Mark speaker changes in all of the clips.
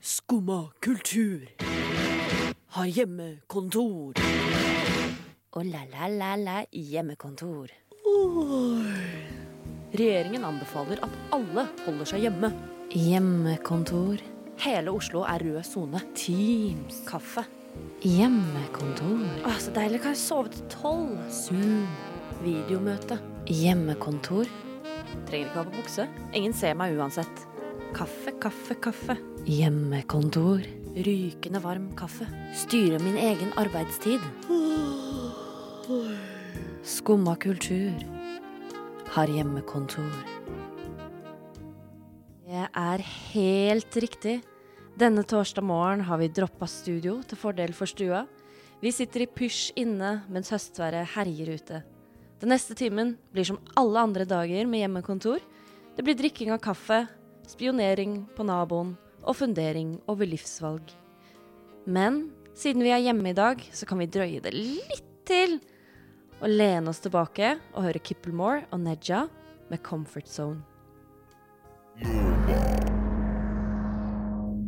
Speaker 1: Skumma kultur. Har hjemmekontor.
Speaker 2: og la-la-la-la hjemmekontor.
Speaker 1: Regjeringen anbefaler at alle holder seg hjemme.
Speaker 2: Hjemmekontor,
Speaker 1: Hele Oslo er rød sone. Teams. Kaffe.
Speaker 2: hjemmekontor,
Speaker 1: Å, så deilig. Kan jeg sove til tolv?
Speaker 2: Zoom,
Speaker 1: Videomøte.
Speaker 2: hjemmekontor,
Speaker 1: Trenger ikke ha på bukse. Ingen ser meg uansett. Kaffe, kaffe, kaffe.
Speaker 2: hjemmekontor.
Speaker 1: Rykende varm kaffe.
Speaker 2: Styre min egen arbeidstid. Skumma kultur. Har hjemmekontor.
Speaker 3: Det er helt riktig. Denne torsdag morgen har vi droppa studio til fordel for stua. Vi sitter i pysj inne mens høstværet herjer ute. Den neste timen blir som alle andre dager med hjemmekontor. Det blir drikking av kaffe, spionering på naboen og fundering over livsvalg. Men siden vi er hjemme i dag, så kan vi drøye det litt til og lene oss tilbake og høre Kippelmore og Neja med 'Comfort Zone'.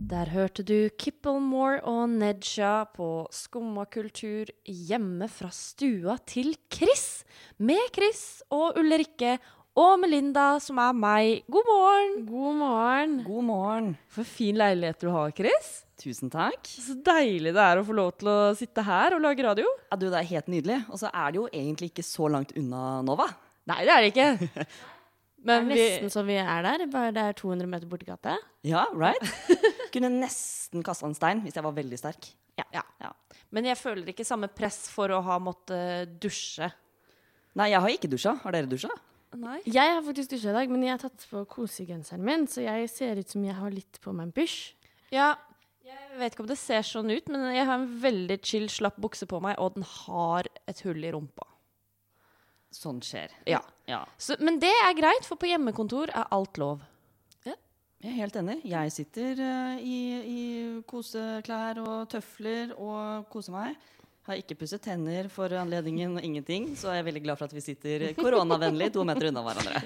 Speaker 3: Der hørte du Kippelmore og Nedsha på Skumma kultur hjemme fra stua til Chris. Med Chris og Ulrikke og Melinda, som er meg. God morgen! God morgen.
Speaker 4: God morgen.
Speaker 3: For fin leilighet du har, Chris.
Speaker 4: Tusen takk.
Speaker 3: Så deilig det er å få lov til å sitte her og lage radio.
Speaker 4: Ja, du, det er helt nydelig. Og så er det jo egentlig ikke så langt unna Nova.
Speaker 3: Nei, det er det ikke. Men vi,
Speaker 5: Nesten så vi er der, bare det er 200 meter borti gata.
Speaker 4: Ja, right? Kunne nesten kasta en stein hvis jeg var veldig sterk.
Speaker 3: ja. Men jeg føler ikke samme press for å ha måttet dusje.
Speaker 4: Nei, jeg har ikke dusja. Har dere dusja?
Speaker 3: Nei.
Speaker 5: Jeg har faktisk dusja i dag, men jeg har tatt på kosegenseren min, så jeg ser ut som jeg har litt på meg en pysj.
Speaker 3: Ja, jeg vet ikke om det ser sånn ut, men jeg har en veldig chill, slapp bukse på meg, og den har et hull i rumpa.
Speaker 4: Sånn skjer.
Speaker 3: Ja.
Speaker 4: ja.
Speaker 3: Så, men det er greit, for på hjemmekontor er alt lov.
Speaker 4: Jeg er helt enig. Jeg sitter eh, i, i koseklær og tøfler og koser meg. Har ikke pusset tenner for anledningen og ingenting, så jeg er veldig glad for at vi sitter koronavennlig to meter unna hverandre.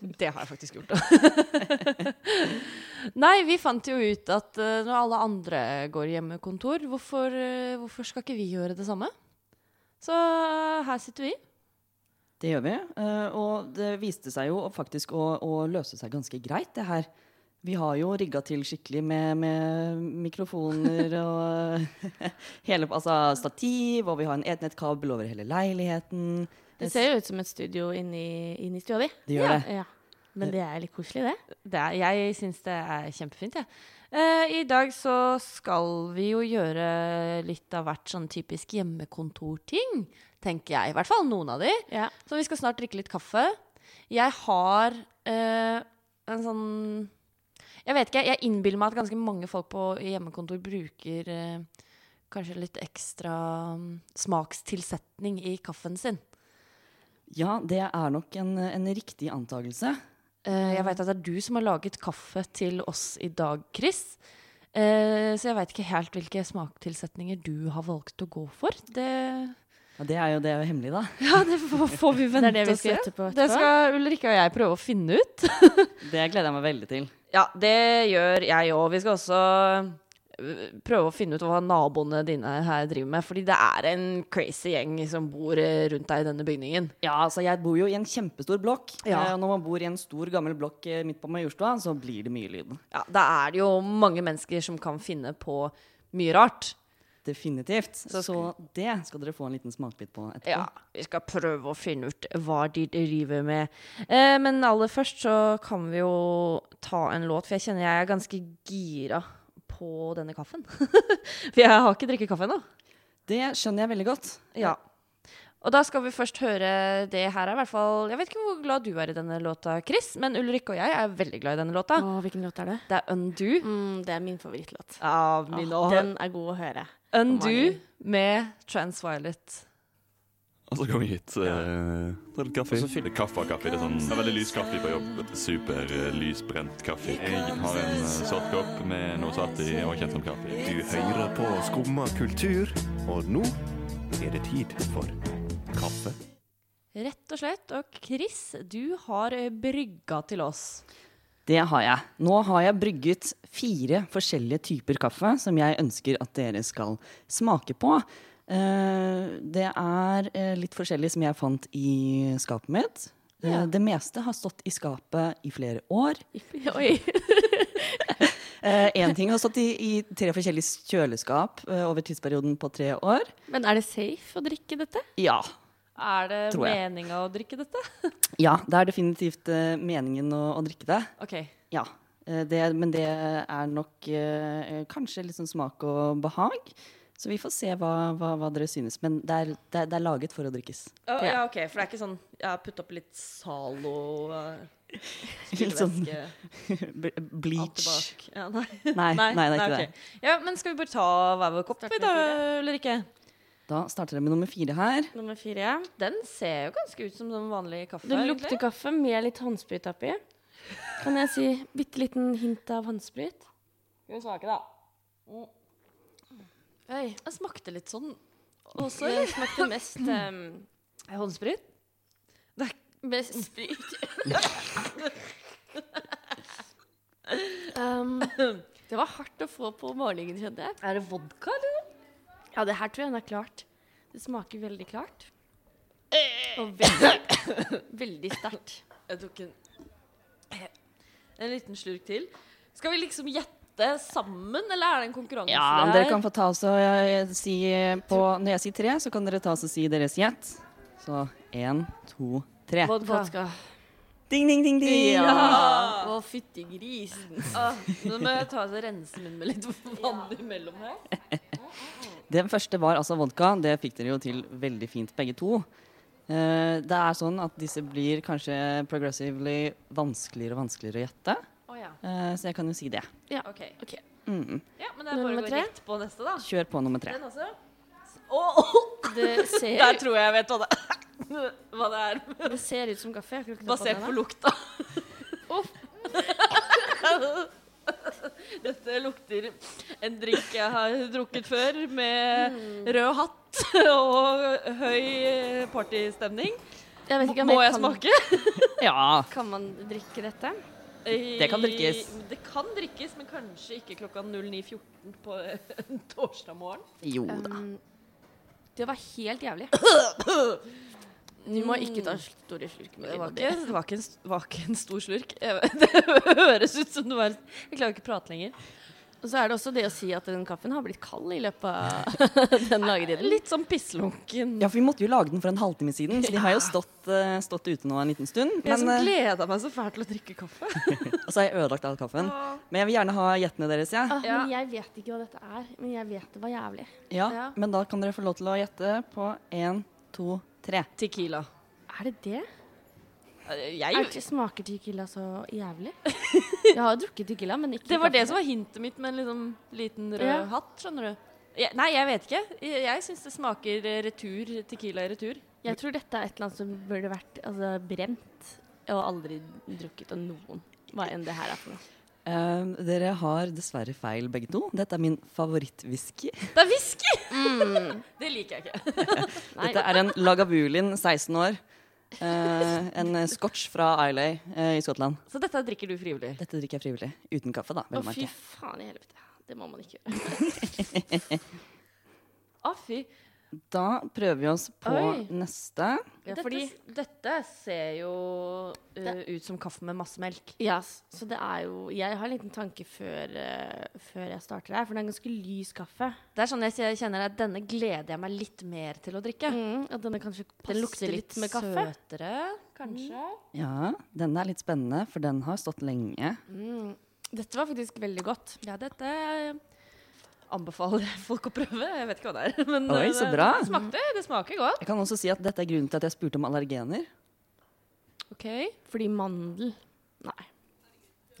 Speaker 3: Det har jeg faktisk gjort. Nei, vi fant jo ut at eh, når alle andre går hjemmekontor, hvorfor, eh, hvorfor skal ikke vi gjøre det samme? Så eh, her sitter vi.
Speaker 4: Det gjør vi. eh, Og det viste seg jo faktisk å, å løse seg ganske greit, det her. Vi har jo rigga til skikkelig med, med mikrofoner og hele, altså stativ, og vi har en etnettkabel over hele leiligheten.
Speaker 5: Det ser jo ut som et studio inni, inni stua di.
Speaker 4: Det gjør
Speaker 5: ja.
Speaker 4: det.
Speaker 5: Ja. Men det er litt koselig, det.
Speaker 3: Det er, jeg syns det er kjempefint, jeg. Eh, I dag så skal vi jo gjøre litt av hvert sånn typisk hjemmekontorting, tenker jeg. I hvert fall noen av de.
Speaker 5: Ja.
Speaker 3: Så vi skal snart drikke litt kaffe. Jeg har eh, en sånn Jeg vet ikke, jeg innbiller meg at ganske mange folk på hjemmekontor bruker eh, kanskje litt ekstra mm, smakstilsetning i kaffen sin.
Speaker 4: Ja, det er nok en, en riktig antakelse.
Speaker 3: Eh, jeg veit at det er du som har laget kaffe til oss i dag, Chris. Eh, så jeg veit ikke helt hvilke smaktilsetninger du har valgt å gå for. Det,
Speaker 4: Ja, det er jo det er jo hemmelig, da.
Speaker 3: ja, det får, får vi
Speaker 5: Det
Speaker 3: vente
Speaker 5: er det vi
Speaker 3: og se.
Speaker 5: skal gjette på
Speaker 3: Det
Speaker 5: etterpå.
Speaker 3: skal Ulrikke og jeg prøve å finne ut.
Speaker 4: Det gleder jeg meg veldig til.
Speaker 3: Ja, det gjør jeg òg. Vi skal også øh, prøve å finne ut hva naboene dine her driver med. Fordi det er en crazy gjeng som bor øh, rundt deg i denne bygningen.
Speaker 4: Ja, altså Jeg bor jo i en kjempestor blokk.
Speaker 3: Ja.
Speaker 4: eh, og Når man bor i en stor, gammel blokk eh, midt på Majorstua, så blir det mye lyd.
Speaker 3: Ja, Da er det jo mange mennesker som kan finne på mye rart.
Speaker 4: Definitivt. Så, det skal dere få en liten smakebit på etterpå.
Speaker 3: Ja, vi skal prøve å finne ut hva de driver med. Eh, men aller først så kan vi jo ta en låt, for jeg kjenner jeg er ganske gira på denne kaffen. for jeg har ikke drikket kaffe ennå.
Speaker 4: Det skjønner jeg veldig godt.
Speaker 3: Ja. Og da skal vi først høre det her er i hvert fall Jeg vet ikke hvor glad du er i denne låta, Chris, men Ulrikke og jeg er veldig glad i denne låta.
Speaker 5: Å, hvilken låt er det?
Speaker 3: Det er Undo.
Speaker 5: Mm, det er min favorittlåt.
Speaker 3: Ja, min
Speaker 5: Å,
Speaker 3: og
Speaker 5: den er god å høre.
Speaker 3: Undo med Transviolet.
Speaker 6: Og så kom vi hit. Uh, ta litt kaffe. Og så fyller kaffe av kaffe. Det er, sånn, det er veldig lys kaffe på jobb. Vet du. Super eh, lysbrent kaffe. Jeg har en eh, svart kopp med noe svart i og kjent som kaffe.
Speaker 7: Du hører på Skumma kultur, og nå er det tid for kaffe.
Speaker 3: Rett og slett. Og Chris, du har eh, brygga til oss.
Speaker 4: Det har jeg. Nå har jeg brygget fire forskjellige typer kaffe som jeg ønsker at dere skal smake på. Eh, Det er eh, litt forskjellig som jeg fant i skapet mitt. Eh, Det meste har stått i skapet i flere år.
Speaker 5: Oi.
Speaker 4: Én ting har stått i, i tre forskjellige kjøleskap eh, over tidsperioden på tre år.
Speaker 5: Men er det safe å drikke dette?
Speaker 4: Ja.
Speaker 3: Er det
Speaker 4: Tror jeg.
Speaker 3: meninga å drikke dette?
Speaker 4: ja det er definitivt eh, meningen å, å drikke det.
Speaker 3: OK.
Speaker 4: Ja. eh, Det, men det er nok eh, kanskje litt sånn smak og behag. Så vi får se hva, hva, hva dere synes. Men det er, det, er, det er laget for å drikkes.
Speaker 3: Å, ja. ok, For det er ikke sånn Jeg har puttet opp litt Zalo eh,
Speaker 4: Litt sånn
Speaker 3: væske,
Speaker 4: b-
Speaker 3: alt
Speaker 4: bleach.
Speaker 3: tilbake. Ja, nei.
Speaker 4: Nei, nei, det er ikke
Speaker 3: ok. Ja, men skal vi bare ta hver vår kopp i dag, eller ikke?
Speaker 4: det. Da starter jeg med nummer fire her.
Speaker 5: Nummer fire, ja.
Speaker 3: Den ser jo ganske ut som den vanlige kaffe.
Speaker 5: Det lukter kaffe med litt håndsprit oppi. Kan jeg si bitte liten hint av håndsprit?
Speaker 3: Skal vi smake, da?
Speaker 5: Oi.
Speaker 3: Den smakte litt sånn også.
Speaker 5: Det smakte mest um,
Speaker 3: Håndsprit?
Speaker 5: Mest sprit. um, det var hardt å få på målingen, kjente jeg.
Speaker 3: Er det vodka, eller?
Speaker 5: Ja, det her tror jeg den er klart. Det smaker veldig klart. Og veldig, veldig sterkt.
Speaker 3: Jeg tok en En liten slurk til. Skal vi liksom gjette sammen, eller er det en konkurranse?
Speaker 4: Ja,
Speaker 3: der?
Speaker 4: dere kan få ta oss og eh, si på Når jeg sier tre, så kan dere ta oss og si deres gjett. Så én, to, tre.
Speaker 5: Vodka.
Speaker 4: Ding, ding, ding, ding.
Speaker 5: Å, fytti grisen.
Speaker 3: Ah, Nå må jeg ta og rense munnen med litt vann imellom her.
Speaker 4: Den første var altså vodka. Det fikk dere jo til veldig fint, begge to. Eh, Det er sånn at disse blir kanskje progressively vanskeligere og vanskeligere å gjette.
Speaker 3: Å ja.
Speaker 4: Eh, Så jeg kan jo si det.
Speaker 3: OK.
Speaker 5: Ok.
Speaker 3: Ja, men det er bare å
Speaker 5: Nummer
Speaker 3: gå
Speaker 5: tre?
Speaker 3: rett på neste, da.
Speaker 4: Kjør på nummer tre.
Speaker 3: Den også. Å,
Speaker 5: Det ser,
Speaker 3: Der tror jeg jeg vet hva det er. Hva det er
Speaker 5: det ser ut som kaffe. Jeg kan ikke ta på
Speaker 3: basert
Speaker 5: den
Speaker 3: på
Speaker 5: her.
Speaker 3: lukta. Dette lukter en drink jeg har drukket før,
Speaker 5: Mm.
Speaker 3: med rød hatt og høy partystemning.
Speaker 5: Jeg vet ikke om
Speaker 3: Må jeg
Speaker 5: kan-
Speaker 3: smake?
Speaker 4: Ja.
Speaker 5: Kan man drikke dette?
Speaker 4: Det kan drikkes.
Speaker 3: Det kan drikkes, men kanskje ikke klokka 09.14 på en torsdag morgen.
Speaker 4: Jo da.
Speaker 5: Um, det var helt jævlig. Du må ikke ta store slurker med
Speaker 3: Det var
Speaker 5: det.
Speaker 3: ikke, det var ikke, en, st- var ikke en stor slurk. Jeg- Det høres ut som det var Jeg klarer ikke å prate lenger.
Speaker 5: Og så er det også det å si at den kaffen har blitt kald i løpet av den lagetiden.
Speaker 3: Litt sånn pisslunken.
Speaker 4: Ja, for vi måtte jo lage den for en halvtime siden, så de har jo stått, eh, stått ute nå en liten stund.
Speaker 3: Jeg som
Speaker 4: Men, eh,
Speaker 3: gleda meg så fælt til å drikke kaffe.
Speaker 4: og så har jeg ødelagt all kaffen. Men jeg vil gjerne ha gjettene deres, jeg.
Speaker 5: Ah,
Speaker 3: Ja.
Speaker 5: Men jeg vet ikke hva dette er, men jeg vet det var jævlig.
Speaker 4: Ja.
Speaker 3: Ja.
Speaker 4: Men da kan dere få lov til å gjette på én, to, tre.
Speaker 3: Tequila.
Speaker 5: Er det det? Er
Speaker 3: Jeg,
Speaker 5: det smaker tequila så jævlig? Jeg har drukket tequila, men ikke
Speaker 3: det var det
Speaker 5: kaffe.
Speaker 3: som var hintet mitt med en liksom liten rød
Speaker 5: Ja.
Speaker 3: hatt, skjønner du. Jeg, nei, jeg vet ikke. Jeg, jeg syns det smaker eh, retur, tequila i retur.
Speaker 5: Jeg tror dette er et eller annet som burde vært altså, brent og aldri drukket av noen. Hva enn det her er for noe.
Speaker 4: Eh, dere har dessverre feil, begge to. Dette er min favorittwhisky.
Speaker 3: Det er whisky! Det liker jeg ikke.
Speaker 5: Nei.
Speaker 4: Dette er en Lagavulin, 16 år. Eh, en eh, scotch fra Islay eh, i Skottland.
Speaker 3: Så dette drikker du frivillig?
Speaker 4: Dette drikker jeg frivillig. Uten kaffe, da.
Speaker 5: Å,
Speaker 4: vel å
Speaker 5: fy
Speaker 4: merke.
Speaker 5: faen i helvete. Det må man ikke gjøre.
Speaker 3: Å, fy.
Speaker 4: Da prøver vi oss på
Speaker 5: Oi.
Speaker 4: neste.
Speaker 3: Ja,
Speaker 5: Dette
Speaker 3: fordi
Speaker 5: s-
Speaker 3: dette ser jo eh, ut som kaffe med masse melk.
Speaker 5: Ja, s- så det er jo Jeg har en liten tanke før, eh, før jeg starter her, for det er en ganske lys kaffe.
Speaker 3: Det er sånn jeg sier- kjenner at denne gleder jeg meg litt mer til å drikke.
Speaker 5: Mm, og denne kanskje passer
Speaker 3: Den lukter litt,
Speaker 5: med kaffe.
Speaker 3: søtere, kanskje.
Speaker 4: Ja, denne er litt spennende, for den har stått lenge.
Speaker 5: Dette var faktisk veldig godt.
Speaker 3: Ja, dette
Speaker 5: eh,
Speaker 3: anbefaler jeg folk å prøve. Jeg vet ikke hva det er. Men
Speaker 4: Oi,
Speaker 3: eh,
Speaker 4: så bra.
Speaker 3: Det, smakte, det smaker godt.
Speaker 4: Jeg kan også si at dette er grunnen til at jeg spurte om allergener.
Speaker 3: Ok.
Speaker 5: Fordi mandel Nei,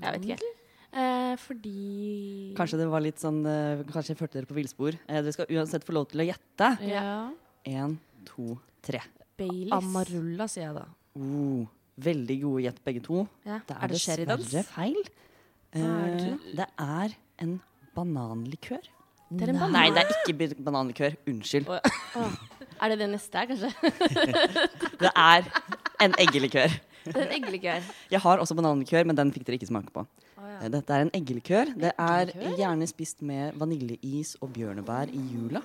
Speaker 5: jeg vet ikke. Eh, fordi
Speaker 4: Kanskje det var litt sånn eh, Kanskje jeg førte dere på villspor. Eh, dere skal uansett få lov til å gjette.
Speaker 5: Ja.
Speaker 4: Én, to, tre.
Speaker 5: Baileys.
Speaker 3: Amarulla, sier jeg da.
Speaker 4: Oh, veldig gode gjett, begge to.
Speaker 3: Ja.
Speaker 4: Det
Speaker 3: er det Sheridans?
Speaker 4: dessverre feil. Eh, det er en bananlikør.
Speaker 5: det er, en banan.
Speaker 4: Nei, det er ikke bi- bananlikør. Unnskyld.
Speaker 5: er det det neste her, kanskje?
Speaker 4: Det er en eggelikør.
Speaker 5: En eggelikør.
Speaker 4: Jeg har også bananlikør, men den fikk dere ikke smake på. Eh, Dette er en eggelikør. Det er gjerne spist med vaniljeis og bjørnebær i jula.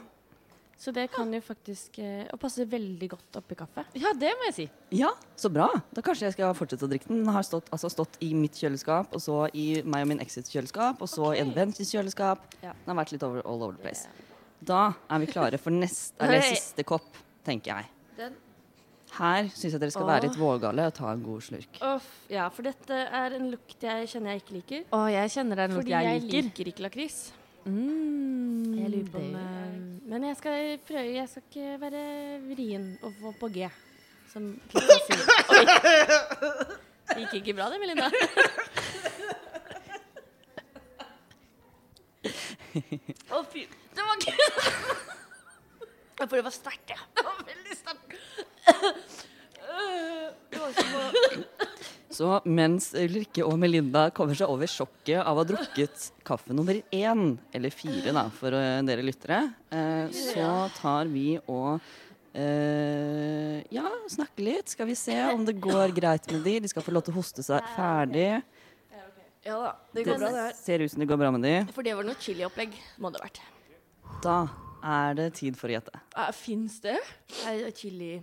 Speaker 5: Så det kan jo faktisk eh, Og passer veldig godt oppi kaffe.
Speaker 3: Ja, det må jeg si.
Speaker 4: Ja, så bra. Da kanskje jeg skal fortsette å drikke den. Den har stått, altså stått i mitt kjøleskap, og så i meg og min ex sitt kjøleskap, og så i en venn sitt kjøleskap.
Speaker 5: Ja.
Speaker 4: Den har vært litt over, all over the place. Da er vi klare for neste, eller
Speaker 5: Nei.
Speaker 4: siste kopp, tenker jeg.
Speaker 5: Den.
Speaker 4: Her syns jeg dere skal være litt vågale og ta en god slurk.
Speaker 5: Uff, ja, for dette er en lukt jeg kjenner jeg ikke liker.
Speaker 3: Å, jeg kjenner det er noe
Speaker 5: Fordi
Speaker 3: jeg liker.
Speaker 5: ikke lakris.
Speaker 3: Mm,
Speaker 5: Jeg lurer på om
Speaker 3: det-
Speaker 5: eh, Men jeg skal prøve. Jeg skal ikke være vrien og få på G. Som Kristian sier. Oi. Det gikk ikke bra det, Melinda. Å, fy. Det var ikke Jeg får det var sterkt, ja. Det var veldig sterkt. Det var som å
Speaker 4: Så mens Ulrikke og Melinda kommer seg over sjokket av å ha drukket kaffe nummer én, eller fire da, for eh, dere lyttere, eh, så tar vi og eh, ja, snakker litt. Skal vi se om det går greit med de. De skal få lov til å hoste seg ferdig.
Speaker 5: Ja da. Det
Speaker 4: Det ser ut som det går bra med de.
Speaker 5: For det var noe chiliopplegg, må det ha vært.
Speaker 4: Da er det tid for å gjette.
Speaker 3: eh,
Speaker 5: Fins det? Er chili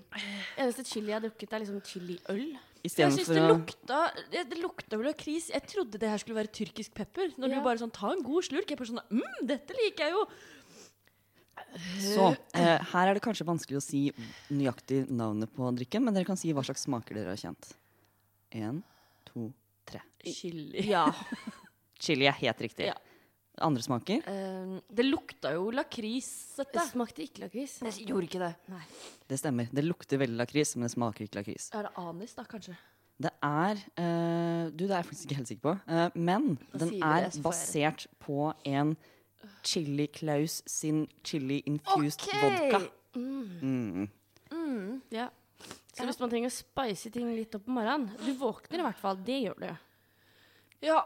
Speaker 5: Eneste chili jeg har drukket, er liksom chiliøl.
Speaker 3: Jeg syns
Speaker 4: Istedenfor
Speaker 3: det
Speaker 4: å
Speaker 3: lukta Det det lukta vel lakris. Jeg trodde det her skulle være tyrkisk pepper. Når du
Speaker 5: Ja.
Speaker 3: bare sånn Ta en god slurk. Jeg bare sånn mm, dette liker jeg jo.
Speaker 4: Så eh, her er det kanskje vanskelig å si nøyaktig navnet på drikken, men dere kan si hva slags smaker dere har kjent. En, to, tre.
Speaker 3: Chili.
Speaker 5: Ja.
Speaker 4: Chili er helt riktig.
Speaker 3: Ja.
Speaker 4: Andre smaker?
Speaker 3: Eh, det lukta jo lakris, dette.
Speaker 5: Det smakte ikke lakris.
Speaker 3: Jeg gjorde ikke det.
Speaker 4: Det stemmer. Det lukter veldig lakris, men det smaker ikke lakris.
Speaker 3: Er det anis, da, kanskje?
Speaker 4: Det er eh, Du, det er jeg faktisk ikke helt sikker på. eh, men den
Speaker 5: sier du
Speaker 4: er
Speaker 5: det, så får jeg
Speaker 4: basert på en Chili Klaus sin chili infused vodka. Mm.
Speaker 5: Ja. Så hvis man trenger å spice ting litt opp om morgenen Du våkner i hvert fall. Det gjør du.
Speaker 3: Ja.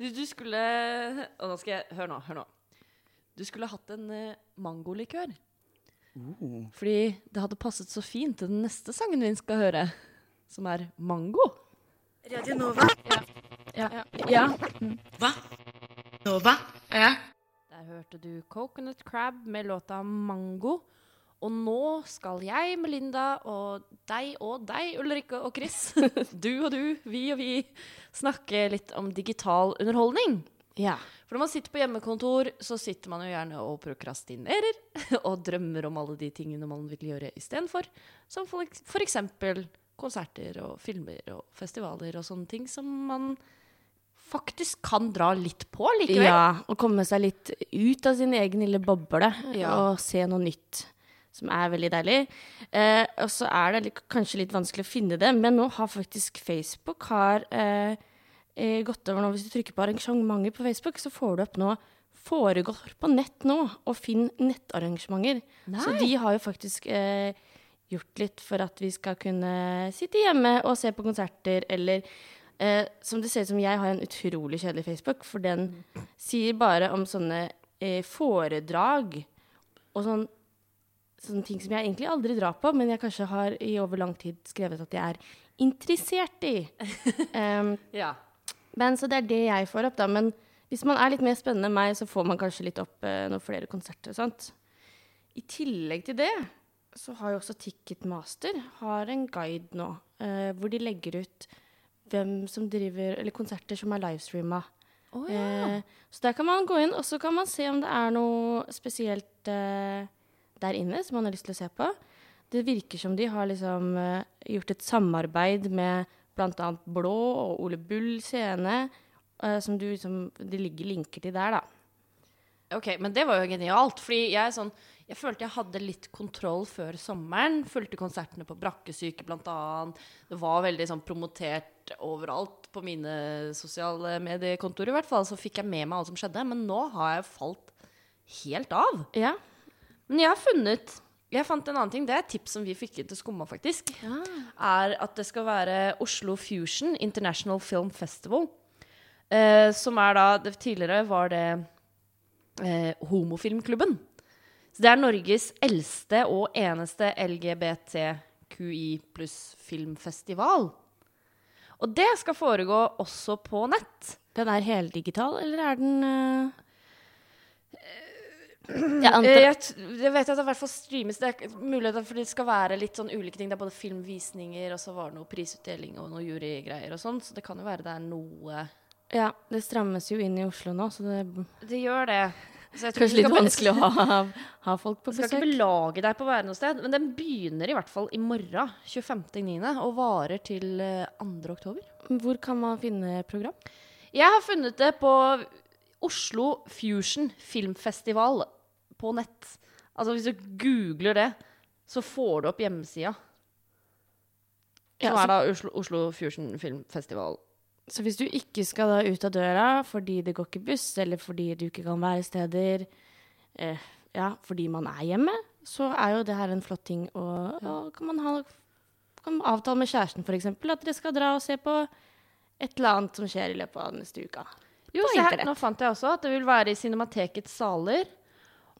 Speaker 3: du, du skulle Og nå skal jeg Hør nå. Hør nå. Du skulle hatt en eh, mangolikør. Fordi det hadde passet så fint til den neste sangen vi skal høre, som er mango.
Speaker 5: Ja.
Speaker 3: Der hørte du Coconut Crab med låta Mango. Og nå skal jeg, Melinda, og deg og deg, Ulrikke og Chris, du og du, vi og vi, snakke litt om digital underholdning.
Speaker 5: ja.
Speaker 3: For når man sitter på hjemmekontor, så sitter man jo gjerne og prokrastinerer og drømmer om alle de tingene man vil gjøre istedenfor. Som for eks- for eksempel konserter og filmer og festivaler og sånne ting som man faktisk kan dra litt på likevel.
Speaker 5: Å komme seg litt ut av sin egen lille boble
Speaker 3: Ja.
Speaker 5: og se noe nytt. Som er veldig deilig. Eh, og så er det litt, kanskje litt vanskelig å finne det, men nå har faktisk Facebook har, eh, eh, gått over nå. Hvis du trykker på arrangementer på Facebook, så får du opp nå foregår på nett nå, og finn nettarrangementer. Så de har jo faktisk eh, gjort litt for at vi skal kunne sitte hjemme og se på konserter, eller eh, som det ser ut som jeg har en utrolig kjedelig Facebook, for den sier bare om sånne eh, foredrag og sånn Sånne ting som jeg egentlig aldri drar på, men jeg kanskje har i over lang tid skrevet at jeg er interessert i. Um,
Speaker 3: Ja.
Speaker 5: men så det er det jeg får opp, da. Men hvis man er litt mer spennende enn meg, så får man kanskje litt opp eh, noen flere konserter og sånt. I tillegg til det så har jo også Ticketmaster har en guide nå, eh, hvor de legger ut hvem som driver Eller konserter som er livestreama. Eh, så der kan man gå inn, og så kan man se om det er noe spesielt eh, der inne som man har lyst til å se på. Det virker som de har liksom eh, gjort et samarbeid med bl.a. Blå og Ole Bull scene. eh, som du liksom Det ligger linker til der, da.
Speaker 3: Ok, men det var jo genialt, fordi jeg er sånn jeg følte jeg hadde litt kontroll før sommeren. Fulgte konsertene på Brakkesyke bl.a. Det var veldig sånn promotert overalt på mine sosiale mediekontoer i hvert fall. Så fikk jeg med meg alt som skjedde. Men nå har jeg falt helt av.
Speaker 5: Ja.
Speaker 3: Men jeg har funnet Jeg fant en annen ting. Det er et tips som vi fikk inn til Skumma, faktisk. Er at det skal være Oslo Fusion International Film Festival. Eh, som er da det, Tidligere var det eh, Homofilmklubben. Så det er Norges eldste og eneste QI pluss filmfestival. Og det skal foregå også på nett.
Speaker 5: Den er heldigital, eller er den eh, Jeg
Speaker 3: Eh,
Speaker 5: antar
Speaker 3: Jeg, t- jeg vet at det i hvert fall streames. Det er k- muligheter for det skal være litt sånn ulike ting. Det er både filmvisninger, og så var det noe prisutdeling og noe jurygreier og sånn. Så det kan jo være det er noe
Speaker 5: Ja, det strammes jo inn i Oslo nå, så det er
Speaker 3: Det gjør det. Så jeg tror
Speaker 5: kanskje
Speaker 3: ikke
Speaker 5: litt
Speaker 3: du skal be-
Speaker 5: vanskelig å ha, ha folk på
Speaker 3: Du skal ikke
Speaker 5: besøk.
Speaker 3: belage deg på å være noe sted, men den begynner i hvert fall i morgen, 25.9., og varer til eh, 2. oktober.
Speaker 5: Hvor kan man finne program?
Speaker 3: Jeg har funnet det på Oslo Fusion Filmfestival på nett. Altså hvis du googler det, så får du opp hjemmesida. Som
Speaker 5: Ja, så-
Speaker 3: er da Oslo, Oslo Fusion Filmfestival.
Speaker 5: Så hvis du ikke skal da ut av døra fordi det går ikke buss, eller fordi du ikke kan være steder, eh, ja, fordi man er hjemme, så er jo det her en flott ting. Og, og kan man ha, kan man avtale med kjæresten f.eks. at dere skal dra og se på et eller annet som skjer i løpet av neste uka.
Speaker 3: Jo,
Speaker 5: På
Speaker 3: se her,
Speaker 5: internett.
Speaker 3: nå fant jeg også at det vil være i Cinematekets saler,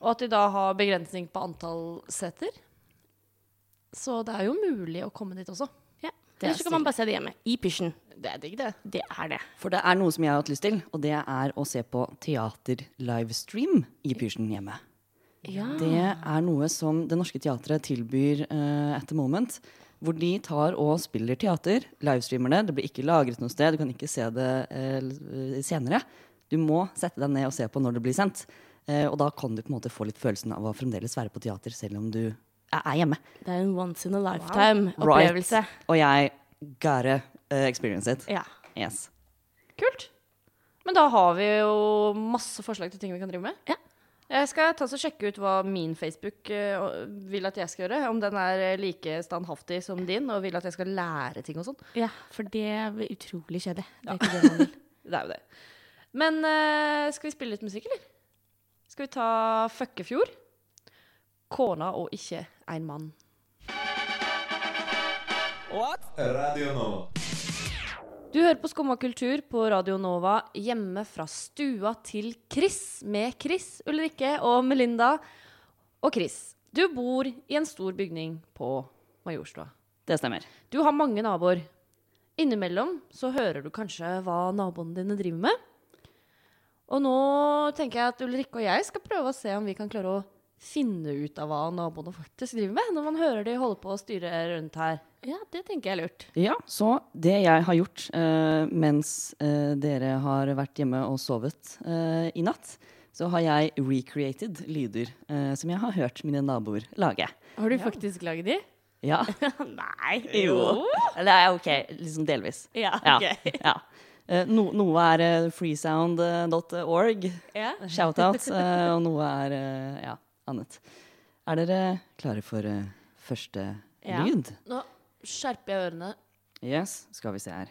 Speaker 3: og at de da har begrensning på antall seter. Så det er jo mulig å komme dit også.
Speaker 5: Ja.
Speaker 3: er
Speaker 5: Eller så kan man bare se det hjemme. I pysjen.
Speaker 3: Det er digg, det.
Speaker 5: Det er det.
Speaker 4: For det er noe som jeg har hatt lyst til, og det er å se på teater-livestream i Pysjen hjemme. Det er noe som Det Norske Teatret tilbyr eh, at the moment. Hvor de tar og spiller teater. Livestreamer det. Det blir ikke lagret noe sted. Du kan ikke se det eh, l- senere. Du må sette deg ned og se på når det blir sendt. Eh, og da kan du på en måte få litt følelsen av å fremdeles være på teater selv om du er- er hjemme.
Speaker 5: Det er en once in a lifetime-opplevelse.
Speaker 4: Right. Og jeg gotta eh, experience it.
Speaker 5: Ja.
Speaker 4: Yes.
Speaker 3: Kult. Men da har vi jo masse forslag til ting vi kan drive med.
Speaker 5: Ja.
Speaker 3: Jeg skal ta og sjekke ut hva min Facebook eh, og- vil at jeg skal gjøre. Om den er eh, like standhaftig som din og vil at jeg skal lære ting og sånn.
Speaker 5: ja. For det blir utrolig kjedelig. Det er ikke det man vil.
Speaker 3: Det er jo det. Men eh, skal vi spille litt musikk, eller? Skal vi ta Føkkefjord? Kona og ikke ein mann. Du hører på Skumma kultur på Radio Nova hjemme fra stua til Chris, med Chris, Ulrikke og Melinda. Og Chris, du bor i en stor bygning på Majorstua.
Speaker 4: Det stemmer.
Speaker 3: Du har mange naboer. Innimellom så hører du kanskje hva naboene dine driver med. Og nå tenker jeg at Ulrikke og jeg skal prøve å se om vi kan klare å finne ut av hva naboene faktisk driver med, når man hører de holder på å styre rundt her.
Speaker 5: Ja, det tenker jeg er lurt.
Speaker 4: Ja, så det jeg har gjort eh, mens eh, dere har vært hjemme og sovet eh, i natt, så har jeg recreated lyder eh, som jeg har hørt mine naboer lage.
Speaker 5: Har du faktisk laget de?
Speaker 4: Ja.
Speaker 5: Nei.
Speaker 4: Eller ja, OK, liksom delvis.
Speaker 5: Ja,
Speaker 4: Ja.
Speaker 5: ok.
Speaker 4: ja. Eh, no, noe er eh, freesound.org,
Speaker 5: Ja.
Speaker 4: shout-out, eh, og noe er eh, ja, annet. Er dere klare for eh, første
Speaker 5: Ja.
Speaker 4: lyd?
Speaker 3: Nå skjerper jeg ørene.
Speaker 4: Yes, skal vi se her.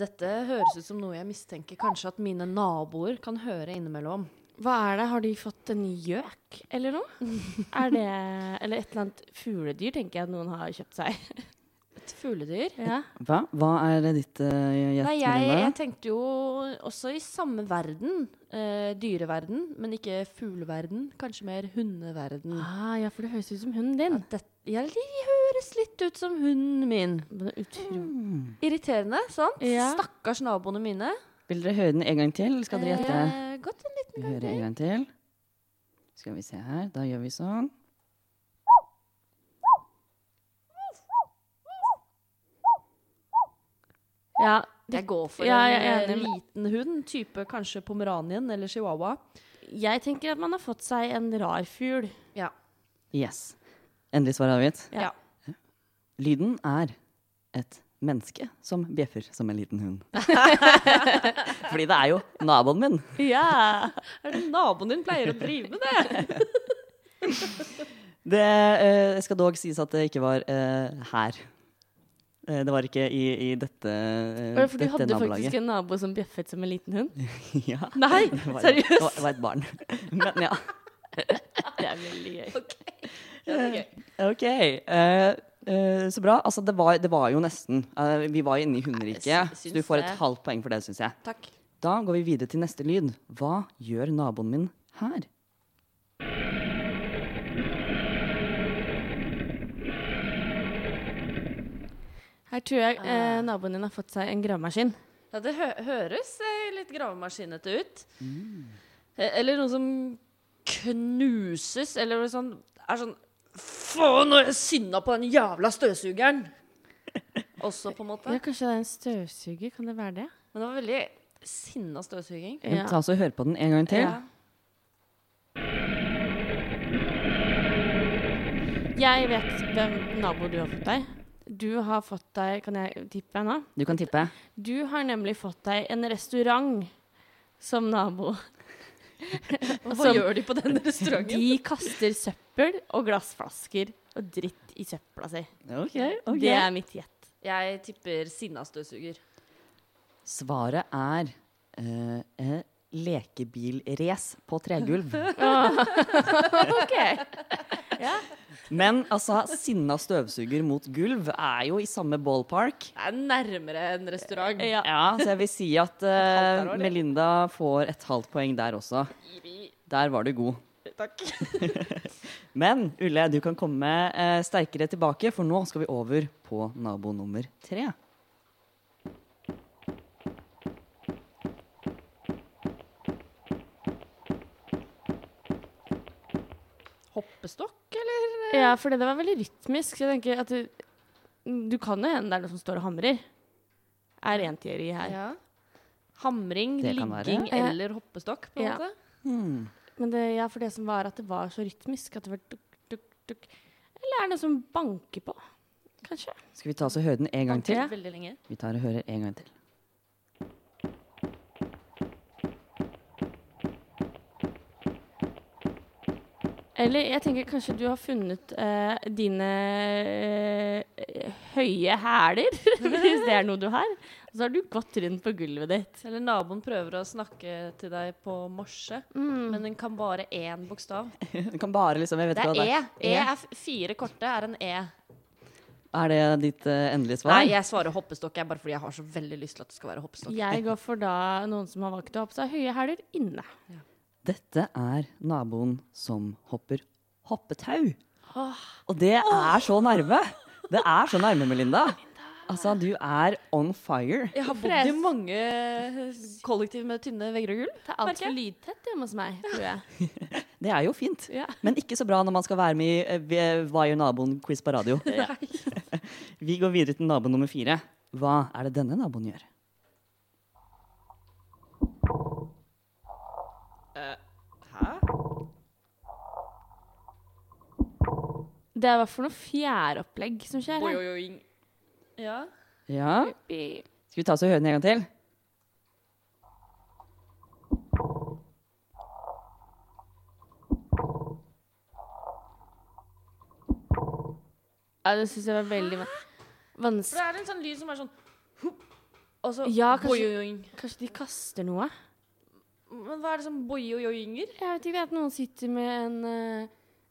Speaker 3: Dette høres ut som noe jeg mistenker kanskje at mine naboer kan høre innimellom.
Speaker 5: Hva er det? Har de fått en gjøk eller noe? er det Eller et eller annet fugledyr, tenker jeg at noen har kjøpt seg.
Speaker 3: Et fugledyr?
Speaker 5: Ja.
Speaker 4: Hva, Hva er det ditt uh, gjett?
Speaker 3: Nei, jeg,
Speaker 4: Melinda?
Speaker 3: jeg tenkte jo også i samme verden. Eh, dyreverden, men ikke fugleverden. Kanskje mer hundeverden.
Speaker 5: Ah, ja, for det høres ut som hunden din.
Speaker 3: Det, ja, de høres litt ut som hunden min. Mm.
Speaker 5: Men det er utro...
Speaker 3: Irriterende, sant?
Speaker 5: Ja.
Speaker 3: Stakkars naboene mine.
Speaker 4: Vil dere høre den en gang til? eller Skal dere gjette?
Speaker 3: Eh, godt en liten
Speaker 4: Vi hører en gang til. Skal vi se her. Da gjør vi sånn.
Speaker 5: Ja, det,
Speaker 3: Jeg går for
Speaker 5: Ja, jeg er
Speaker 3: en eh,
Speaker 5: enig.
Speaker 3: liten hund, type kanskje pomeranien eller chihuahua.
Speaker 5: jeg tenker at man har fått seg en rar fugl.
Speaker 3: Ja.
Speaker 4: Yes. Endelig svar avgitt.
Speaker 3: Ja.
Speaker 4: Lyden er et menneske som bjeffer som en liten hund. Fordi det er jo naboen min.
Speaker 3: Er det naboen din pleier å drive med det?
Speaker 4: Det eh, skal dog sies at det ikke var eh, her. Eh, det var ikke i, i dette, eh,
Speaker 5: For du
Speaker 4: dette
Speaker 5: hadde
Speaker 4: nabolaget.
Speaker 5: faktisk en nabo som bjeffet som en liten hund.
Speaker 4: ja,
Speaker 5: Nei,
Speaker 4: det var,
Speaker 5: seriøst?
Speaker 4: Det var, det var et barn. Men ja.
Speaker 5: Det er veldig gøy.
Speaker 4: Ok. eh, eh, så bra. Altså, det var, det var jo nesten. Eh, vi var inne i hunderiket,
Speaker 3: sy-
Speaker 4: så
Speaker 3: syns
Speaker 4: du får et
Speaker 3: det.
Speaker 4: halvt poeng for det, syns jeg.
Speaker 3: Takk.
Speaker 4: Da går vi videre til neste lyd. Hva gjør naboen min her?
Speaker 5: Her tror jeg eh, naboen din har fått seg en gravemaskin.
Speaker 3: Ja, det hø høres eh, litt gravemaskinete ut.
Speaker 5: Mm.
Speaker 3: Eh, Eller noe som knuses, eller noe sånn Er sånn Faen, nå er jeg sinna på den jævla støvsugeren! Også, på en måte.
Speaker 5: Ja, kanskje det er en støvsuger? Kan det være det?
Speaker 3: Men det var veldig sinna støvsuging.
Speaker 5: Ja.
Speaker 4: Ta oss og Hør på den en gang til.
Speaker 3: Ja.
Speaker 5: Jeg vet hvem nabo du har fått deg. Du har fått deg Kan jeg tippe nå?
Speaker 4: Du kan tippe.
Speaker 5: Du har nemlig fått deg en restaurant som nabo.
Speaker 3: Hva
Speaker 5: Som-
Speaker 3: gjør Altså, de på den restauranten?
Speaker 5: De kaster søppel og glassflasker og dritt i søpla si.
Speaker 4: Ok,
Speaker 5: Det er mitt gjett.
Speaker 3: Jeg tipper sinna støvsuger.
Speaker 4: Svaret er eh, eh, lekebilrace på tregulv. Men altså, sinna støvsuger mot gulv er jo i samme ballpark.
Speaker 3: Det er nærmere en restaurant.
Speaker 5: Ja.
Speaker 4: Ja, så jeg vil si at eh, Melinda får et halvt poeng der også. Der var du god. Takk. Men Ulle, du kan komme eh, sterkere tilbake, for nå skal vi over på nabo nummer tre.
Speaker 3: Hoppestokk, eller?
Speaker 5: Ja, for det var veldig rytmisk. Så jeg tenker at du, du kan jo hende det er noen som står og hamrer. Er én teori her.
Speaker 3: Ja. Hamring,
Speaker 4: Det kan
Speaker 3: ligging
Speaker 5: være.
Speaker 3: eller hoppestokk, på en
Speaker 5: Ja.
Speaker 3: måte.
Speaker 5: Men det, ja, for det som var at det var så rytmisk at det var dukk, dukk, dukk. Eller er det noe som banker på? Kanskje.
Speaker 4: Skal vi ta oss og høre den en gang til?
Speaker 3: Veldig lenge.
Speaker 4: Vi tar og hører en gang til.
Speaker 5: Eller jeg tenker kanskje du har funnet eh, dine eh, høye hæler, hvis det er noe du har. Og så har du gått rundt på gulvet ditt.
Speaker 3: Eller naboen prøver å snakke til deg på morse, men den kan bare én bokstav.
Speaker 4: Du kan bare liksom, jeg vet
Speaker 3: Det
Speaker 4: ikke hva
Speaker 3: er E. E
Speaker 4: E.
Speaker 3: er f- fire korte, er en E.
Speaker 4: Er det ditt eh, endelige svar?
Speaker 3: Nei, jeg svarer hoppestokk, jeg, bare fordi jeg har så veldig lyst til at det skal være hoppestokk.
Speaker 5: Jeg går for da noen som har valgt å ha på seg høye hæler inne.
Speaker 4: Dette er naboen som hopper hoppetau. Og det er så nærme! Det er så nærme, Melinda. Altså, du er on fire.
Speaker 3: Jeg har bodd i mange eh, kollektiv med tynne vegger og gulv.
Speaker 5: Det er altfor lydtett hjemme hos meg, tror jeg.
Speaker 4: Det er jo fint.
Speaker 5: Ja.
Speaker 4: Men ikke så bra når man skal være med i eh, vi- Hva gjør naboen-quiz på radio. Vi går videre til nabo nummer fire. Hva er det denne naboen gjør?
Speaker 5: Det er i hvert fall noe fjæropplegg som skjer her.
Speaker 3: Ja.
Speaker 4: Ja, Skal vi ta oss og høre den en gang til?
Speaker 5: Ja, det syns jeg var veldig van-
Speaker 3: For det
Speaker 5: vanskelig.
Speaker 3: er en sånn lyd som er sånn hup, og så
Speaker 5: Ja, kanskje-
Speaker 3: boing.
Speaker 5: Kanskje de kaster noe?
Speaker 3: Men hva er det som boing-boinger?
Speaker 5: Jeg vet ikke, det er at noen sitter med en, eh,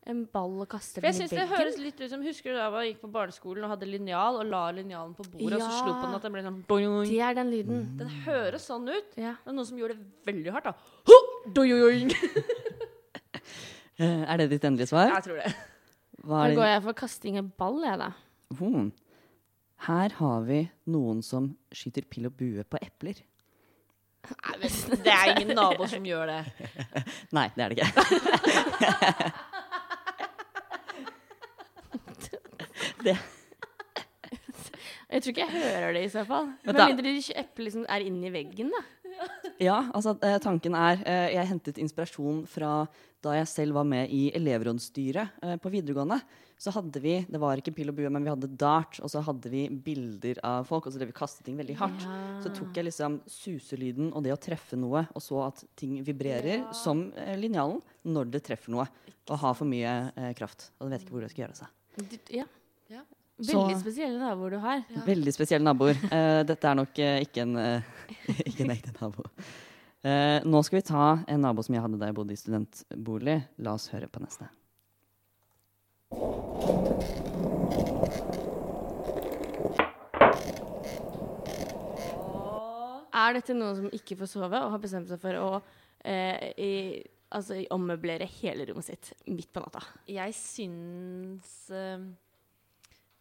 Speaker 5: en ball og kaster
Speaker 3: For jeg
Speaker 5: den i
Speaker 3: synes det
Speaker 5: veggen.
Speaker 3: høres litt ut som Husker du da man gikk på barneskolen og hadde linjal og la linjalen på bordet, og så
Speaker 5: Ja.
Speaker 3: slo på den at den ble sånn boing?
Speaker 5: Det er den lyden.
Speaker 4: Mm.
Speaker 3: Den høres sånn ut.
Speaker 5: Ja.
Speaker 3: Det er noen som gjorde det veldig hardt, da. Hup, doing.
Speaker 4: Eh, Er det ditt endelige svar?
Speaker 3: Jeg tror det.
Speaker 4: Hva
Speaker 5: Da
Speaker 4: er
Speaker 5: går
Speaker 4: det?
Speaker 5: jeg for kasting av ball, jeg, da.
Speaker 4: Hmm. Her har vi noen som skyter pil og bue på epler.
Speaker 3: Det er ingen nabo som gjør det.
Speaker 4: Nei, det er det ikke. det,
Speaker 5: Jeg tror ikke jeg hører det, i så fall.
Speaker 4: Vent
Speaker 5: Med
Speaker 4: da.
Speaker 5: mindre de ikke eplet liksom er inni veggen, da.
Speaker 4: ja, altså eh, tanken er eh, Jeg hentet inspirasjon fra da jeg selv var med i elevrådsstyret eh, på videregående. Så hadde vi det var ikke pil og bue, men vi hadde dart, og så hadde vi bilder av folk. Og så drev vi kastet ting veldig hardt. Så tok jeg liksom suselyden og det å treffe noe, og så at ting vibrerer, som eh, linjalen, når det treffer noe. Og har for mye eh, kraft. Og vet ikke hvor det skal gjøre av seg.
Speaker 5: Du- Ja.
Speaker 3: Ja.
Speaker 5: Veldig
Speaker 4: Så-
Speaker 5: spesielle naboer du har.
Speaker 4: Veldig spesielle naboer. Eh, dette er nok eh, ikke, en, eh, ikke en ekte nabo. Eh, nå skal vi ta en nabo som jeg hadde da jeg bodde i studentbolig. La oss høre på neste.
Speaker 5: Er er dette noen som ikke får sove, og har bestemt seg for å eh, i, altså, ommøblere hele rommet sitt midt på natta?
Speaker 3: Jeg syns eh,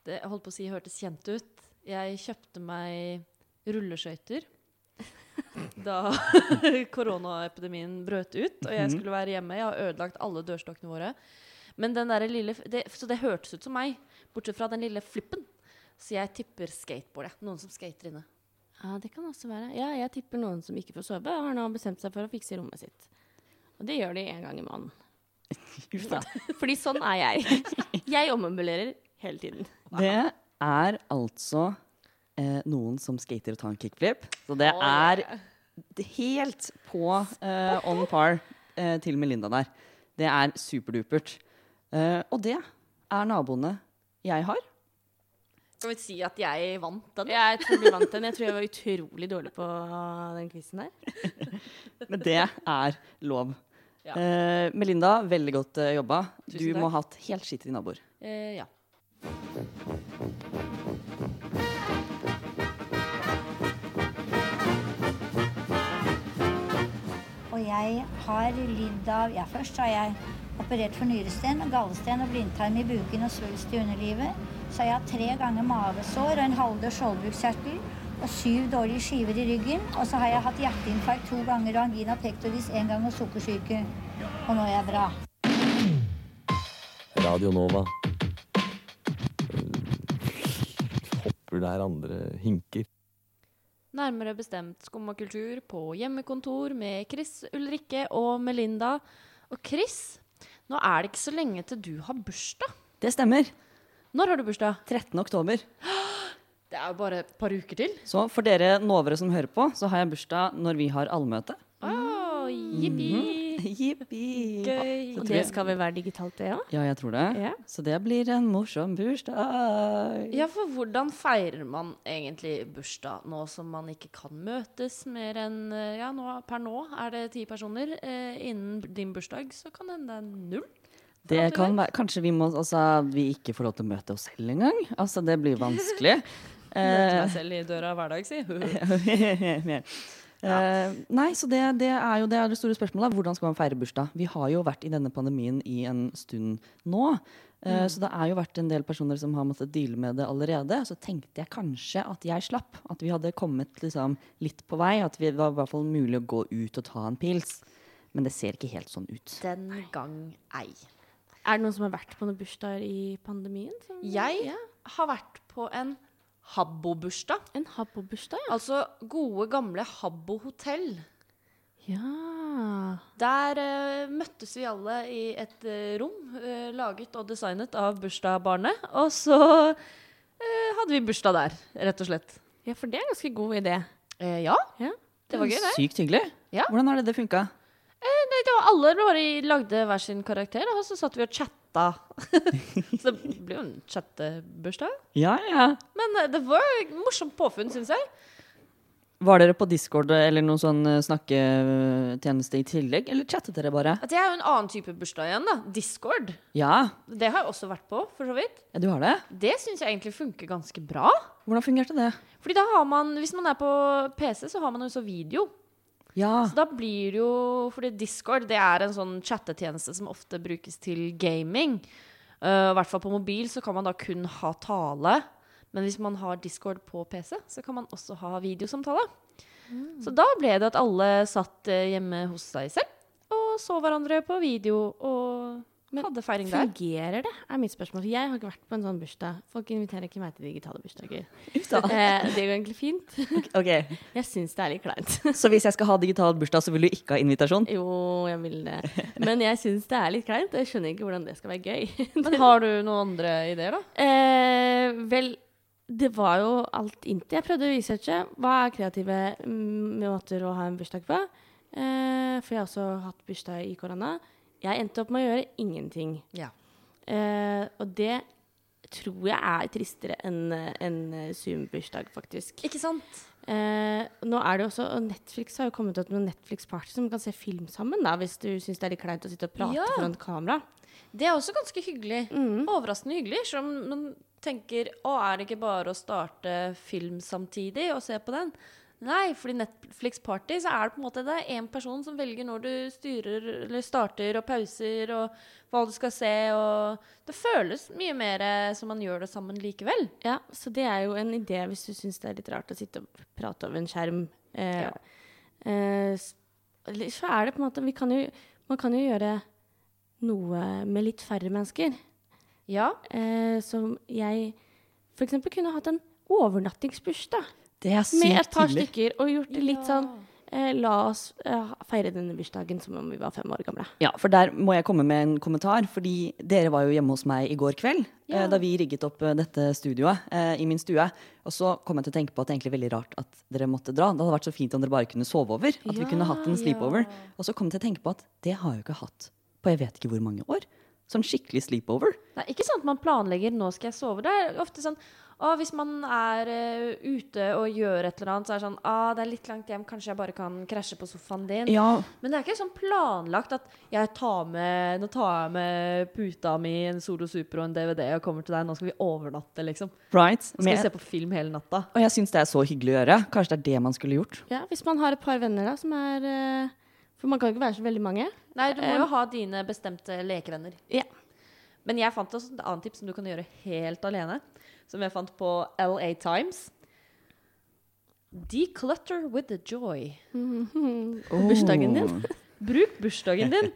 Speaker 3: Det jeg holdt på å si hørtes kjent ut. Jeg kjøpte meg rulleskøyter da koronaepidemien brøt ut og jeg skulle være hjemme. Jeg har ødelagt alle dørstokkene våre. Men den der lille, det, så det hørtes ut som meg, bortsett fra den lille flippen. Så jeg tipper skateboard. jeg. Noen som skater inne.
Speaker 5: Ja, det kan også være. Ja, jeg tipper noen som ikke får sove, har nå bestemt seg for å fikse rommet sitt. Og det gjør de en gang i måneden.
Speaker 4: Uff da.
Speaker 5: Fordi sånn er jeg. Jeg ommøblerer hele tiden.
Speaker 4: Det er altså eh, noen som skater og tar en kickflip. Så det er d- helt på eh, on par eh, til Melinda der. Det er superdupert. Eh, og det er naboene jeg har.
Speaker 3: Skal vi si at jeg vant den?
Speaker 5: Jeg tror vi vant den. Jeg tror jeg var utrolig dårlig på den quizen der.
Speaker 4: Men det er lov. Eh, Melinda, veldig godt eh, jobba. Du
Speaker 3: Tusen takk.
Speaker 4: må ha hatt helt skitne naboer.
Speaker 3: Eh, ja.
Speaker 8: Og jeg har lidd av Ja, først har jeg operert for nyresten, gallesten og blindtarm i buken og svulst i underlivet. Så har jeg hatt tre ganger mavesår og en halvdød skjoldbruskkjertel og syv dårlige skiver i ryggen. Og så har jeg hatt hjerteinfarkt to ganger og angina pectoris én gang og sukkersyke. Og nå er jeg bra.
Speaker 9: Radio Nova. Hopper der andre hinker.
Speaker 3: Nærmere bestemt Skum og kultur på hjemmekontor med Chris, Ulrikke og Melinda. Og Chris, nå er det ikke så lenge til du har bursdag.
Speaker 4: Det stemmer.
Speaker 3: Når har du bursdag?
Speaker 4: 13. oktober.
Speaker 3: Det er jo bare et par uker til.
Speaker 4: Så for dere novere som hører på, så har jeg bursdag når vi har allmøte.
Speaker 3: Å, jippi!
Speaker 4: Jippi!
Speaker 3: Gøy.
Speaker 5: Og det skal vel være digitalt, det òg?
Speaker 4: Ja, jeg tror det.
Speaker 5: Ja.
Speaker 4: Så det blir en morsom bursdag.
Speaker 3: Ja, for hvordan feirer man egentlig bursdag nå som man ikke kan møtes mer enn eh, Ja, nå, per nå er det ti personer. Eh, innen din bursdag så kan det hende det er null.
Speaker 4: Det kan være, kanskje vi, må, altså, vi ikke får lov til å møte oss selv engang. Altså, det blir vanskelig.
Speaker 3: Møter
Speaker 4: Eh,
Speaker 3: meg selv i døra hver dag, si.
Speaker 4: eh, nei, så det, det er jo det, er det store spørsmålet. Hvordan skal man feire bursdag? Vi har jo vært i denne pandemien i en stund nå. Eh,
Speaker 3: Mm.
Speaker 4: Så det er jo vært en del personer som har måttet deale med det allerede. Så tenkte jeg kanskje at jeg slapp. At vi hadde kommet liksom, litt på vei. At vi- det var i hvert fall mulig å gå ut og ta en pils. Men det ser ikke helt sånn ut.
Speaker 3: Den gang ei.
Speaker 5: Er det noen som har vært på noen bursdager i pandemien? Som-
Speaker 3: Jeg
Speaker 5: Ja.
Speaker 3: har vært på en habbo-bursdag.
Speaker 5: En habbo-bursdag, ja.
Speaker 3: Altså gode, gamle Habbo hotell.
Speaker 5: ja.
Speaker 3: Der eh, møttes vi alle i et eh, rom eh, laget og designet av bursdagsbarnet. Og så eh, hadde vi bursdag der, rett og slett.
Speaker 5: Ja, for det er en ganske god idé.
Speaker 3: Eh, ja.
Speaker 5: Ja.
Speaker 3: Det var gøy, det.
Speaker 4: Sykt hyggelig.
Speaker 3: Ja.
Speaker 4: Hvordan har det det funka?
Speaker 3: Nei, det var alle bare lagde hver sin karakter, og så satt vi og chatta. så det ble jo en chattebursdag.
Speaker 4: Ja, ja.
Speaker 3: Men eh, det var et morsomt påfunn, syns jeg.
Speaker 4: Var dere på Discord eller noen sånn eh, snakketjeneste i tillegg, eller chattet dere bare?
Speaker 3: At Det er jo en annen type bursdag igjen, da. Discord.
Speaker 4: Ja,
Speaker 3: Det har jeg også vært på, for så vidt.
Speaker 4: ja, du har det?
Speaker 3: Det syns jeg egentlig funker ganske bra.
Speaker 4: Hvordan fungerte det?
Speaker 3: Fordi da har man, hvis man er på PC, så har man jo så video.
Speaker 4: Ja,
Speaker 3: Så da blir det jo Fordi Discord det er en sånn chattetjeneste som ofte brukes til gaming. Eh, I hvert fall på mobil så kan man da kun ha tale. Men hvis man har Discord på PC, så kan man også ha videosamtale. Så da ble det at alle satt eh, hjemme hos seg selv og så hverandre på video og hadde feiring der.
Speaker 5: Fungerer det, er mitt spørsmål. Jeg har ikke vært på en sånn bursdag. Folk inviterer ikke meg til digitale bursdager.
Speaker 4: uff da.
Speaker 5: Eh, det går egentlig fint.
Speaker 4: Ok,
Speaker 5: Jeg syns det er litt kleint.
Speaker 4: så hvis jeg skal ha digital bursdag, så vil du ikke ha invitasjon?
Speaker 5: Jo, jeg vil det. Men jeg syns det er litt kleint, og jeg skjønner ikke hvordan det skal være gøy.
Speaker 3: Men har du noen andre ideer, da?
Speaker 5: Eh, vel, det var jo alt inntil. Jeg prøvde å researche. Hva er kreative mm, måter å ha en bursdag på? Eh, for jeg har også hatt bursdag i korona. Jeg endte opp med å gjøre ingenting.
Speaker 3: Ja.
Speaker 5: Eh, og det tror jeg er tristere enn eh, en Zoom-bursdag, faktisk.
Speaker 3: Ikke sant?
Speaker 5: Eh, nå er det jo også, og Netflix har jo kommet ut med Netflix-party som kan se film sammen, da, hvis du syns det er litt kleint å sitte og prate
Speaker 3: Ja.
Speaker 5: foran kamera.
Speaker 3: Det er også ganske hyggelig. Overraskende hyggelig. Selv om man tenker å, er det ikke bare å starte film samtidig og se på den? Nei, fordi Netflix Party så er det på en måte det er én person som velger når du styrer eller starter og pauser og hva du skal se og Det føles mye mer eh, som man gjør det sammen likevel.
Speaker 5: Ja, så det er jo en idé hvis du syns det er litt rart å sitte og prate over en skjerm. Eh,
Speaker 3: Ja.
Speaker 5: eh, s- eller så er det på en måte vi kan jo, Man kan jo gjøre noe med litt færre mennesker.
Speaker 3: Ja.
Speaker 5: Eh, som jeg f.eks. kunne hatt en overnattingsbursdag
Speaker 4: Det er sykt
Speaker 5: med et par
Speaker 4: tidlig.
Speaker 5: stykker. Og gjort det litt sånn eh, La oss eh, feire denne bursdagen som om vi var fem år gamle.
Speaker 4: Ja, for der må jeg komme med en kommentar. Fordi dere var jo hjemme hos meg i går kveld. eh, Da vi rigget opp eh, dette studioet eh, i min stue. Og så kom jeg til å tenke på at det er egentlig veldig rart at dere måtte dra. Det hadde vært så fint om dere bare kunne sove over. At vi kunne hatt en sleepover. Og så kom jeg til å tenke på at det har jeg jo ikke hatt på jeg vet ikke hvor mange år. Sånn skikkelig sleepover.
Speaker 3: Nei, ikke sånn at man planlegger 'nå skal jeg sove'. Det er ofte sånn å, Hvis man er eh, ute og gjør et eller annet, så er det sånn ah, 'Det er litt langt hjem, kanskje jeg bare kan krasje på sofaen din'.
Speaker 4: Ja,
Speaker 3: Men det er ikke sånn planlagt at jeg tar med, 'Nå tar jeg med puta mi, en Solo Super og en DVD og kommer til deg, nå skal vi overnatte', liksom.
Speaker 4: right?
Speaker 3: Nå skal vi se på film hele natta.
Speaker 4: og jeg syns det er så hyggelig å gjøre. Kanskje det er det man skulle gjort.
Speaker 5: Ja, Hvis man har et par venner da, som er eh, For man kan jo ikke være så veldig mange.
Speaker 3: Nei, du må jo ha dine bestemte lekevenner.
Speaker 5: Ja.
Speaker 3: Men jeg fant også et annet tips som du kan gjøre helt alene. Som jeg fant på LA Times. Declutter with the joy.
Speaker 5: Bursdagen din.
Speaker 3: Bruk bursdagen din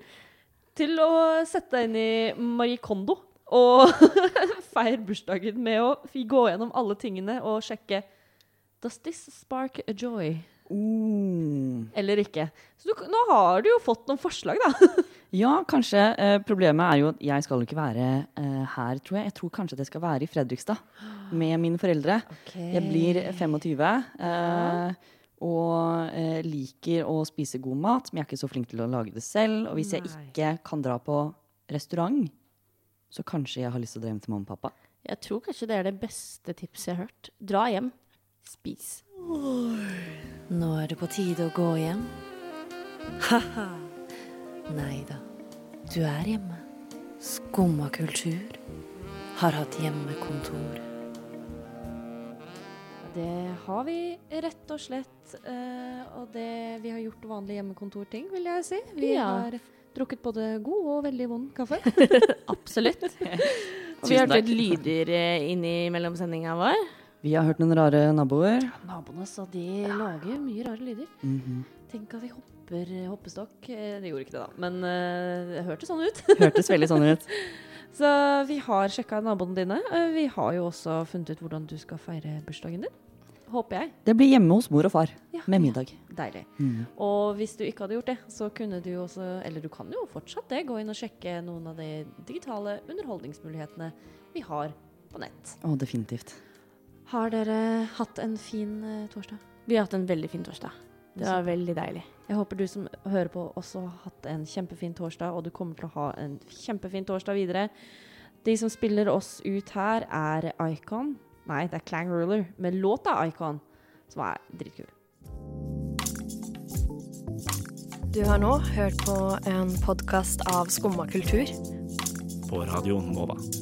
Speaker 3: til å sette deg inn i Marie Kondo. Og feir bursdagen med å f- gå gjennom alle tingene og sjekke Does this spark a joy?
Speaker 4: Mm.
Speaker 3: Eller ikke. Så du, k- nå har du jo fått noen forslag, da.
Speaker 4: Ja, kanskje. Eh, problemet er jo at jeg skal jo ikke være eh, her, tror jeg. Jeg tror kanskje at jeg skal være i Fredrikstad med mine foreldre. Jeg blir 25 eh, og eh, liker å spise god mat, men jeg er ikke så flink til å lage det selv. Og hvis jeg ikke kan dra på restaurant, så kanskje jeg har lyst til å dra hjem til mamma og pappa.
Speaker 5: Jeg tror kanskje det er det beste tipset jeg har hørt. Dra hjem. Spis.
Speaker 2: Nå er det på tide å gå hjem. Ha-ha. Nei da, du er hjemme. Skumma kultur. Har hatt hjemmekontor.
Speaker 3: Det har vi rett og slett. eh, og det vi har gjort vanlige hjemmekontorting, vil jeg si. Vi
Speaker 5: Ja.
Speaker 3: har drukket både god og veldig vond kaffe.
Speaker 5: Absolutt. Og vi
Speaker 4: Tusen
Speaker 5: hørte
Speaker 4: takk.
Speaker 5: litt lyder eh, inni mellom sendinga vår.
Speaker 4: Vi har hørt noen rare naboer.
Speaker 3: Naboene sa de lager mye rare lyder. Mhm. Tenk at de hopper hoppestokk. Eh, De gjorde ikke det, da, men eh, det hørtes sånn ut.
Speaker 4: Hørtes veldig sånn ut.
Speaker 3: Så vi har sjekka naboene dine. Eh, Vi har jo også funnet ut hvordan du skal feire bursdagen din. Håper jeg.
Speaker 4: Det blir hjemme hos mor og far
Speaker 3: Ja. Mhm.
Speaker 4: med middag.
Speaker 3: Deilig. Og hvis du ikke hadde gjort det, så kunne du jo også Eller du kan jo fortsatt det. Gå inn og sjekke noen av de digitale underholdningsmulighetene vi har på nett.
Speaker 4: Å, definitivt.
Speaker 3: Har dere hatt en fin eh, torsdag?
Speaker 5: Vi har hatt en veldig fin torsdag. Det var veldig deilig.
Speaker 3: Jeg håper du som hører på også har hatt en kjempefin torsdag, og du kommer til å ha en kjempefin torsdag videre. De som spiller oss ut her, er Icon. Nei, det er Clang Ruler, men låta er Icon, som er dritkul.
Speaker 10: Du har nå hørt på en podkast av Skumma kultur.
Speaker 11: på radioen Nova.